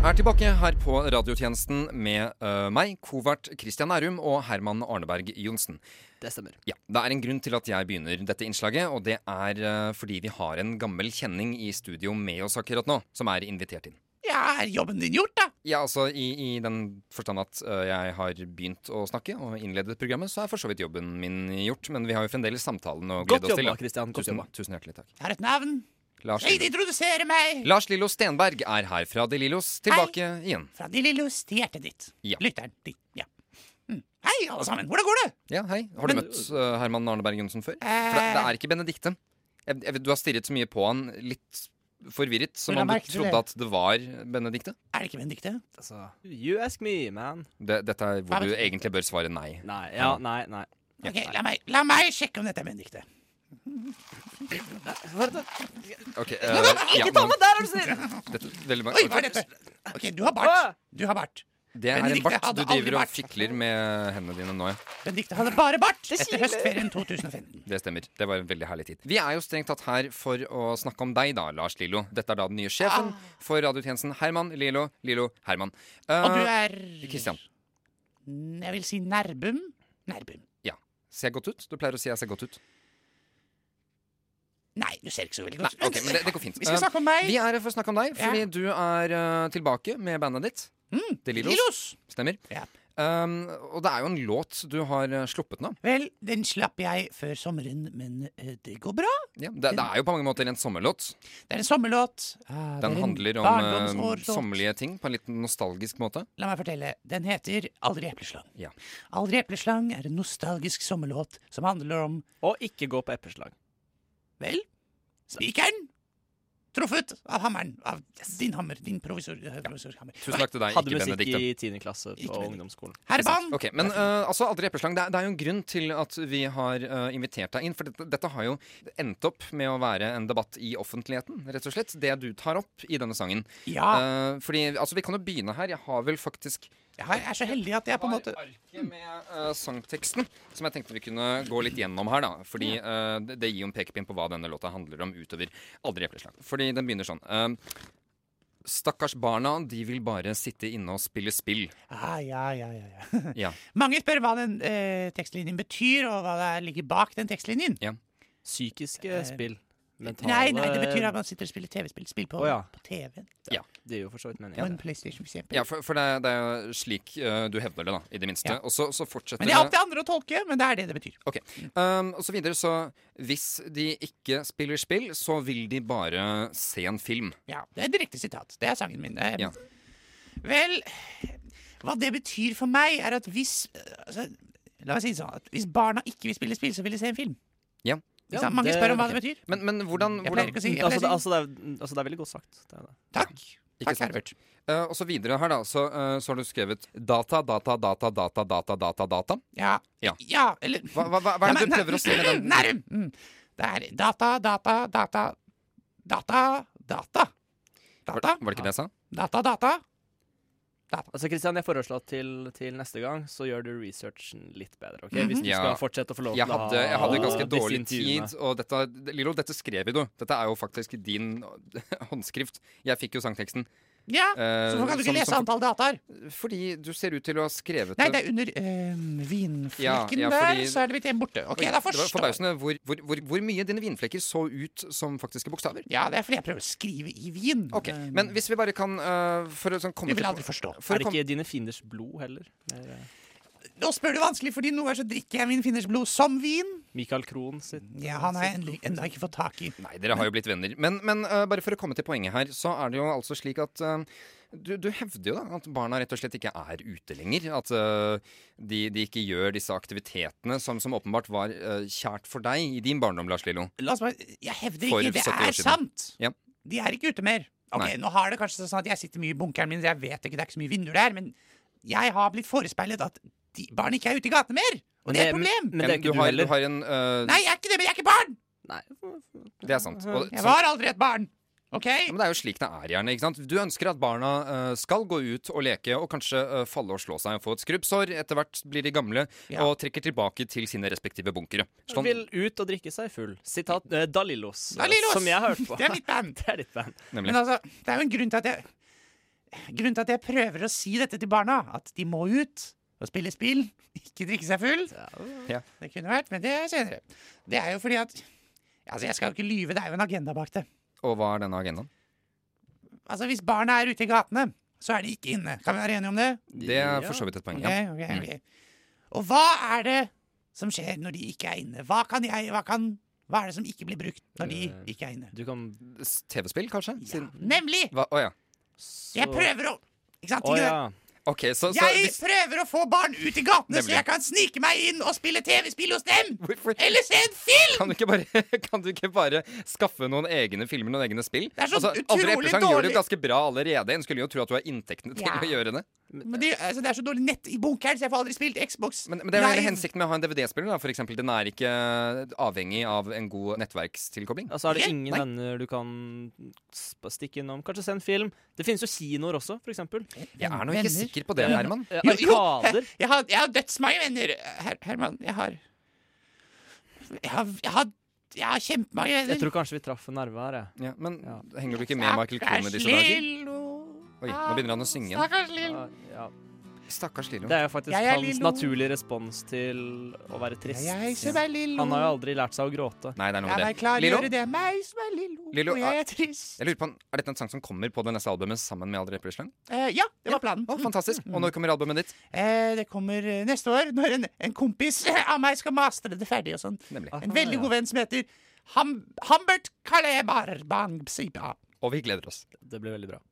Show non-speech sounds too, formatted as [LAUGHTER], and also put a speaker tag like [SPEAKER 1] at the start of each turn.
[SPEAKER 1] er tilbake her på radiotjenesten med eh, meg, Kovert Christian Nærum og Herman Arneberg Johnsen.
[SPEAKER 2] Det stemmer.
[SPEAKER 1] Ja, Det er en grunn til at jeg begynner dette innslaget, og det er eh, fordi vi har en gammel kjenning i studio med oss akkurat nå, som er invitert inn.
[SPEAKER 2] Ja, er jobben din gjort, da?
[SPEAKER 1] Ja, altså i, i den forstand at eh, jeg har begynt å snakke og innledet programmet, så er for så vidt jobben min gjort, men vi har jo fremdeles samtalen å
[SPEAKER 2] Godt
[SPEAKER 1] glede oss til.
[SPEAKER 2] jobba, Christian. Godt
[SPEAKER 1] Tusen,
[SPEAKER 2] jobba.
[SPEAKER 1] tusen hjertelig takk.
[SPEAKER 3] Jeg har et navn.
[SPEAKER 1] Lars,
[SPEAKER 3] Hei, de introduserer meg!
[SPEAKER 1] Lars Lillo Stenberg er her fra De Lillos tilbake igjen.
[SPEAKER 3] Fra de lillos til hjertet ditt.
[SPEAKER 1] Ja.
[SPEAKER 3] Lytteren ditt. Ja. Mm. Hei, alle sammen. Hvordan går det?
[SPEAKER 1] Ja, hei. Har du møtt eh, Herman Arneberg Johnsen før? For det,
[SPEAKER 3] Eh.
[SPEAKER 1] det er ikke Benedikte. Jeg, jeg, vet- du har stirret så mye på han, litt forvirret, som
[SPEAKER 3] la
[SPEAKER 1] om
[SPEAKER 3] merke
[SPEAKER 1] du
[SPEAKER 3] til
[SPEAKER 1] trodde
[SPEAKER 3] det.
[SPEAKER 1] at det var Benedikte.
[SPEAKER 3] Er det ikke Benedicte?
[SPEAKER 2] Altså, you ask me, man.
[SPEAKER 1] Det, dette er
[SPEAKER 3] Jeg
[SPEAKER 1] hvor du
[SPEAKER 3] vet ikke.
[SPEAKER 1] egentlig bør svare nei.
[SPEAKER 2] Nei, ja, nei, nei.
[SPEAKER 3] Ok, la meg, la meg sjekke om dette er Benedicte.
[SPEAKER 1] Ok, eh, ja,
[SPEAKER 2] Ikke ta
[SPEAKER 1] men
[SPEAKER 2] meg der, er du snill!
[SPEAKER 1] dette, veldig mange-
[SPEAKER 3] Oi, hva er dette? Ok, du har
[SPEAKER 2] Åh!
[SPEAKER 3] bart. Du har bart.
[SPEAKER 1] Det er en
[SPEAKER 3] Benedikte
[SPEAKER 1] bart.
[SPEAKER 3] hadde
[SPEAKER 1] Du
[SPEAKER 3] aldri
[SPEAKER 1] driver og
[SPEAKER 3] bart.
[SPEAKER 1] fikler med hendene dine nå, ja.
[SPEAKER 3] Benedicte hadde bare bart
[SPEAKER 2] Det
[SPEAKER 3] etter
[SPEAKER 2] kiler.
[SPEAKER 3] høstferien 2015.
[SPEAKER 1] Det stemmer. Det var en veldig herlig tid. Vi er jo strengt tatt her for å snakke om deg, da, Lars Lillo. Dette er da den nye
[SPEAKER 3] Ah.
[SPEAKER 1] sjefen for radiotjenesten. Herman Lillo Lillo Herman. Eh,
[SPEAKER 3] Og du er
[SPEAKER 1] Christian.
[SPEAKER 3] Mm, Jeg vil si Nærbum. Nærbum.
[SPEAKER 1] Ser jeg godt ut? Du pleier å si jeg ser godt ut.
[SPEAKER 3] Nei, du ser ikke så veldig godt ut.
[SPEAKER 1] Ok, men det, det går fint.
[SPEAKER 3] Vi skal
[SPEAKER 1] Eh,
[SPEAKER 3] snakke om meg.
[SPEAKER 1] Vi er her for å snakke om deg,
[SPEAKER 3] Ja.
[SPEAKER 1] fordi du er eh, tilbake med bandet ditt.
[SPEAKER 3] Mm,
[SPEAKER 1] De Lillos.
[SPEAKER 3] Lillos.
[SPEAKER 1] Stemmer.
[SPEAKER 3] Ja.
[SPEAKER 1] Um, og det er jo en låt du har eh, sluppet nå.
[SPEAKER 3] Vel, den slapp jeg før sommeren, men eh, det går bra.
[SPEAKER 1] Ja, det, det er jo på mange måter en sommerlåt.
[SPEAKER 3] Det er en sommerlåt. Ah, det er
[SPEAKER 1] Den
[SPEAKER 3] en
[SPEAKER 1] handler om eh,
[SPEAKER 3] barndomsårslåt.
[SPEAKER 1] sommerlige ting på en litt nostalgisk måte.
[SPEAKER 3] La meg fortelle. Den heter Aldri epleslang.
[SPEAKER 1] Ja.
[SPEAKER 3] Aldri epleslang er en nostalgisk sommerlåt som handler om
[SPEAKER 2] Og ikke gå på epleslag.
[SPEAKER 3] Vel, spikeren! Truffet av hammeren. Av din hammer. Din provisor, eh, provisorhammer.
[SPEAKER 1] Tusen takk til deg,
[SPEAKER 2] Hadde
[SPEAKER 1] ikke
[SPEAKER 2] musikk
[SPEAKER 1] Benedicte.
[SPEAKER 2] i 10. klasse
[SPEAKER 3] Ikke
[SPEAKER 2] på
[SPEAKER 3] Benedicte.
[SPEAKER 2] ungdomsskolen.
[SPEAKER 3] Herban!
[SPEAKER 1] Ok, men eh, altså, Aldri epleslang. Det, er- det er jo en grunn til at vi har eh, invitert deg inn. For dette, dette har jo endt opp med å være en debatt i offentligheten, rett og slett. Det du tar opp i denne sangen.
[SPEAKER 3] Ja,
[SPEAKER 1] Eh, fordi, altså, Vi kan jo begynne her. Jeg har vel faktisk
[SPEAKER 3] jeg har- jeg er så heldig at jeg på en måte
[SPEAKER 1] har arket med eh, sangteksten, som jeg tenkte vi kunne gå litt gjennom her, da. Fordi eh, det, det gir jo en pekepinn på hva denne låta handler om utover Aldri epleslang. Fordi den begynner sånn. eh, Stakkars barna, de vil bare sitte inne og spille spill.
[SPEAKER 3] [LAUGHS] ah, Ja, ja, ja. ja. [LAUGHS]
[SPEAKER 1] Ja.
[SPEAKER 3] Mange spør hva den eh, tekstlinjen betyr, og hva det ligger bak den tekstlinjen.
[SPEAKER 2] Psykiske spill. Mentale
[SPEAKER 3] Eh, Nei, nei, det betyr at man sitter og spiller TV-spill. Spill på,
[SPEAKER 2] Å, ja.
[SPEAKER 3] på TV.
[SPEAKER 2] Det er jo for så vidt
[SPEAKER 3] På en
[SPEAKER 2] meningen.
[SPEAKER 3] PlayStation, for eksempel.
[SPEAKER 1] Ja, for, for det, det er jo slik eh, du hevner det, da, i det minste.
[SPEAKER 3] Ja.
[SPEAKER 1] Og så, så fortsetter
[SPEAKER 3] Men det er opp til andre å tolke, men det er det det betyr.
[SPEAKER 1] Ok, um, og så videre så Hvis de ikke spiller spill, så vil de bare se en film.
[SPEAKER 3] Ja, Det er et direkte sitat. Det er sangen min. Eh,
[SPEAKER 1] Ja.
[SPEAKER 3] Vel, hva det betyr for meg, er at hvis eh, altså, La meg si det sånn at hvis barna ikke vil spille spill, så vil de se en film.
[SPEAKER 1] Ja.
[SPEAKER 3] Ikke
[SPEAKER 2] Ja,
[SPEAKER 3] sant? Mange
[SPEAKER 2] det-
[SPEAKER 3] spør om hva
[SPEAKER 2] ok.
[SPEAKER 3] det betyr.
[SPEAKER 1] Men, men hvordan,
[SPEAKER 3] Jeg
[SPEAKER 1] hvordan
[SPEAKER 3] pleier ikke å si jeg pleier
[SPEAKER 2] Altså,
[SPEAKER 3] å si-
[SPEAKER 2] det, altså, det er, altså, det er veldig godt sagt. Det er det.
[SPEAKER 3] Takk.
[SPEAKER 1] Ikke
[SPEAKER 3] Takk,
[SPEAKER 1] sant.
[SPEAKER 3] Herbert.
[SPEAKER 1] Eh, og så videre her, da, så, eh, så har du skrevet data, data, data, data, data, data. data.
[SPEAKER 3] Ja.
[SPEAKER 1] Ja.
[SPEAKER 3] eller
[SPEAKER 1] Hva, hva, hva, hva er det du
[SPEAKER 3] Nei, men-
[SPEAKER 1] prøver å si med den?
[SPEAKER 3] [CLEARS THROAT] Nærum! Mm. Det er data, data, data, data, data.
[SPEAKER 1] Var,
[SPEAKER 3] Data,
[SPEAKER 1] var det ikke det jeg sa?
[SPEAKER 3] data, data.
[SPEAKER 2] Altså, Kristian, jeg foreslår at til, til neste gang så gjør du researchen litt bedre. ok? Hvis du
[SPEAKER 1] Mhm. Ja.
[SPEAKER 2] skal fortsette å få lov
[SPEAKER 1] Jeg
[SPEAKER 2] til å
[SPEAKER 1] hadde, jeg hadde ganske
[SPEAKER 2] disse
[SPEAKER 1] dårlig
[SPEAKER 2] intervjuene.
[SPEAKER 1] tid, og dette, Lilo, dette skrev jo du. Dette er jo faktisk din [LAUGHS] håndskrift. Jeg fikk jo sangteksten.
[SPEAKER 3] Ja,
[SPEAKER 1] eh,
[SPEAKER 3] så hvorfor kan du
[SPEAKER 1] som-
[SPEAKER 3] ikke lese
[SPEAKER 1] som-
[SPEAKER 3] antall dataer?
[SPEAKER 1] Fordi du ser ut til å ha skrevet
[SPEAKER 3] Nei, det er under øhm, vinflekken
[SPEAKER 1] Ja, ja,
[SPEAKER 3] der,
[SPEAKER 1] fordi-
[SPEAKER 3] så er det mitt hjem borte. Ok, da
[SPEAKER 1] det var
[SPEAKER 3] forstår jeg.
[SPEAKER 1] forbausende hvor, hvor, hvor, hvor mye dine vinflekker så ut som faktiske bokstaver.
[SPEAKER 3] Ja, det er fordi jeg prøver å skrive i vin. Eh,
[SPEAKER 1] Ok, Men hvis vi bare kan øh, For å sånn komme
[SPEAKER 3] Du vil
[SPEAKER 1] til
[SPEAKER 3] aldri forstå.
[SPEAKER 1] for
[SPEAKER 2] er
[SPEAKER 1] å
[SPEAKER 2] det
[SPEAKER 1] komme,
[SPEAKER 2] ikke dine fienders blod heller? Eller, eh,
[SPEAKER 3] Nå spør du vanskelig, fordi noen ganger så drikker jeg min finners blod som vin.
[SPEAKER 2] Michael Krohn sitt
[SPEAKER 3] Ja, han har jeg endelig- enda ikke fått tak i.
[SPEAKER 1] Nei, dere har jo blitt venner. Men, men øh, bare for å komme til poenget her, så er det jo altså slik at øh, du, du hevder jo da at barna rett og slett ikke er ute lenger. At øh, de, de ikke gjør disse aktivitetene som, som åpenbart var øh, kjært for deg i din barndom, Lars Lillo.
[SPEAKER 3] La oss bare, jeg hevder
[SPEAKER 1] For
[SPEAKER 3] ikke, det
[SPEAKER 1] 70 år
[SPEAKER 3] er
[SPEAKER 1] siden.
[SPEAKER 3] sant.
[SPEAKER 1] Ja.
[SPEAKER 3] De er ikke ute mer. Ok,
[SPEAKER 1] Nei.
[SPEAKER 3] Nå har det kanskje sånn at jeg sitter mye i bunkeren min, så jeg vet ikke, det er ikke så mye vinduer der, men jeg har blitt forespeilet at de, barn ikke er ute i gatene mer. Og det er et problem.
[SPEAKER 2] Men det er
[SPEAKER 1] Men
[SPEAKER 2] ikke du,
[SPEAKER 1] har,
[SPEAKER 2] heller.
[SPEAKER 1] du har en øh,
[SPEAKER 3] Nei, jeg er ikke det, men jeg er ikke barn!
[SPEAKER 2] Nei.
[SPEAKER 1] Det er sant. Og,
[SPEAKER 3] Jeg
[SPEAKER 1] så,
[SPEAKER 3] var aldri et barn. Ok?
[SPEAKER 1] ja, men det er jo slik det er, gjerne. ikke sant? Du ønsker at barna øh, skal gå ut og leke og kanskje øh, falle og slå seg og få et skrubbsår. Etter hvert blir de gamle
[SPEAKER 3] Ja.
[SPEAKER 1] og trekker tilbake til sine respektive bunkere. Sånn-
[SPEAKER 2] Vil ut og drikke seg full. Sitat eh, Dalillos, eh,
[SPEAKER 3] Dalillos!
[SPEAKER 2] [LAUGHS] som jeg har hørt på.
[SPEAKER 3] Det er mitt band.
[SPEAKER 2] Det er ditt band.
[SPEAKER 1] Nemlig.
[SPEAKER 3] Men altså, det er jo en grunn til at jeg Grunnen til at jeg prøver å si dette til barna, at de må ut og spille spill, ikke drikke seg full
[SPEAKER 1] Ja.
[SPEAKER 3] Det kunne vært, men det er senere. Det er jo fordi at Altså, jeg skal jo ikke lyve, det er jo en agenda bak det.
[SPEAKER 1] Og hva er denne agendaen?
[SPEAKER 3] Altså, hvis barna er ute i gatene, så er de ikke inne. Kan vi være enige om det?
[SPEAKER 1] Det er for så vidt et poeng. Ja.
[SPEAKER 3] Ok,
[SPEAKER 2] Mm.
[SPEAKER 3] ok, ok. Og hva er det som skjer når de ikke er inne? Hva, kan jeg, hva, kan, hva er det som ikke blir brukt når de
[SPEAKER 2] Eh,
[SPEAKER 3] ikke er inne?
[SPEAKER 2] Du kan
[SPEAKER 1] S- TV-spill, kanskje?
[SPEAKER 3] Ja,
[SPEAKER 1] Siden
[SPEAKER 3] nemlig!
[SPEAKER 1] Hva? Å ja.
[SPEAKER 2] så
[SPEAKER 3] Jeg prøver å Ikke sant?
[SPEAKER 2] Å
[SPEAKER 3] ikke
[SPEAKER 2] ja.
[SPEAKER 3] det?
[SPEAKER 1] OK, så, så
[SPEAKER 3] Jeg
[SPEAKER 1] hvis,
[SPEAKER 3] prøver å få barn ut i gatene,
[SPEAKER 1] Nemlig.
[SPEAKER 3] så jeg kan snike meg inn og spille TV-spill hos dem!
[SPEAKER 1] Hvorfor-
[SPEAKER 3] Eller se en film!
[SPEAKER 1] kan, du ikke bare, [LAUGHS] kan du ikke bare skaffe noen egne filmer, noen egne spill?
[SPEAKER 3] er så
[SPEAKER 1] Andre
[SPEAKER 3] utrolig
[SPEAKER 1] Eplesang gjør det
[SPEAKER 3] dårlig.
[SPEAKER 1] jo ganske bra allerede. En skulle jo tro at du har inntektene til
[SPEAKER 3] Ja.
[SPEAKER 1] å gjøre det.
[SPEAKER 3] Men det, altså, det er så dårlig nett i bunkeren, så jeg får aldri spilt Xbox
[SPEAKER 1] Men, men det er jo hele
[SPEAKER 3] Live.
[SPEAKER 1] hensikten med å ha en DVD-spiller. da, For eksempel, den er ikke avhengig av en god nettverkstilkobling.
[SPEAKER 2] Altså er det
[SPEAKER 3] Ikke?
[SPEAKER 2] ingen venner du kan sp- stikke innom? Kanskje se en film? Det finnes jo kinoer også, for eksempel.
[SPEAKER 1] Jeg er nå ikke
[SPEAKER 3] Venner.
[SPEAKER 1] sikker på det, Herman.
[SPEAKER 2] Eh,
[SPEAKER 3] Jo, jo,
[SPEAKER 2] Arkader.
[SPEAKER 3] [LAUGHS] Jeg har, jeg har dødsmange venner, Her, Herman. Jeg har Jeg har, jeg har, jeg har kjempemange venner.
[SPEAKER 2] Jeg tror kanskje vi traff en nerve her, jeg.
[SPEAKER 1] Ja, men
[SPEAKER 2] Ja.
[SPEAKER 1] henger du ikke med Michael Krohn i disse dager? Oi, nå begynner han å synge igjen.
[SPEAKER 3] Stakkars Lillo.
[SPEAKER 2] Ja, ja.
[SPEAKER 1] Stakkars Lillo.
[SPEAKER 2] Det er jo faktisk
[SPEAKER 3] Jeg er
[SPEAKER 2] hans
[SPEAKER 3] Lillo.
[SPEAKER 2] naturlige respons til å være trist.
[SPEAKER 3] Jeg som er Lillo.
[SPEAKER 2] Han har jo aldri lært seg å gråte.
[SPEAKER 1] Nei, det er
[SPEAKER 3] La
[SPEAKER 1] noe
[SPEAKER 3] meg
[SPEAKER 1] med det. Lillo,
[SPEAKER 3] klargjøre det. Meg som er Lillo,
[SPEAKER 1] Lillo,
[SPEAKER 3] og jeg er trist.
[SPEAKER 1] jeg lurer på, er dette en sang som kommer på det neste albumet sammen med Aldri epleslang?
[SPEAKER 3] Eh, ja, det var planen.
[SPEAKER 1] Å, fantastisk. Og når kommer albumet ditt?
[SPEAKER 3] Eh, det kommer eh, neste år, når en, en kompis [LAUGHS] av meg skal mastre det ferdig og sånn.
[SPEAKER 1] Nemlig.
[SPEAKER 2] Aha,
[SPEAKER 3] En veldig
[SPEAKER 2] ja.
[SPEAKER 3] god venn som heter Ham Hambert Kalebar Bang Sipa.
[SPEAKER 1] Og vi gleder oss.
[SPEAKER 2] Det ble veldig bra.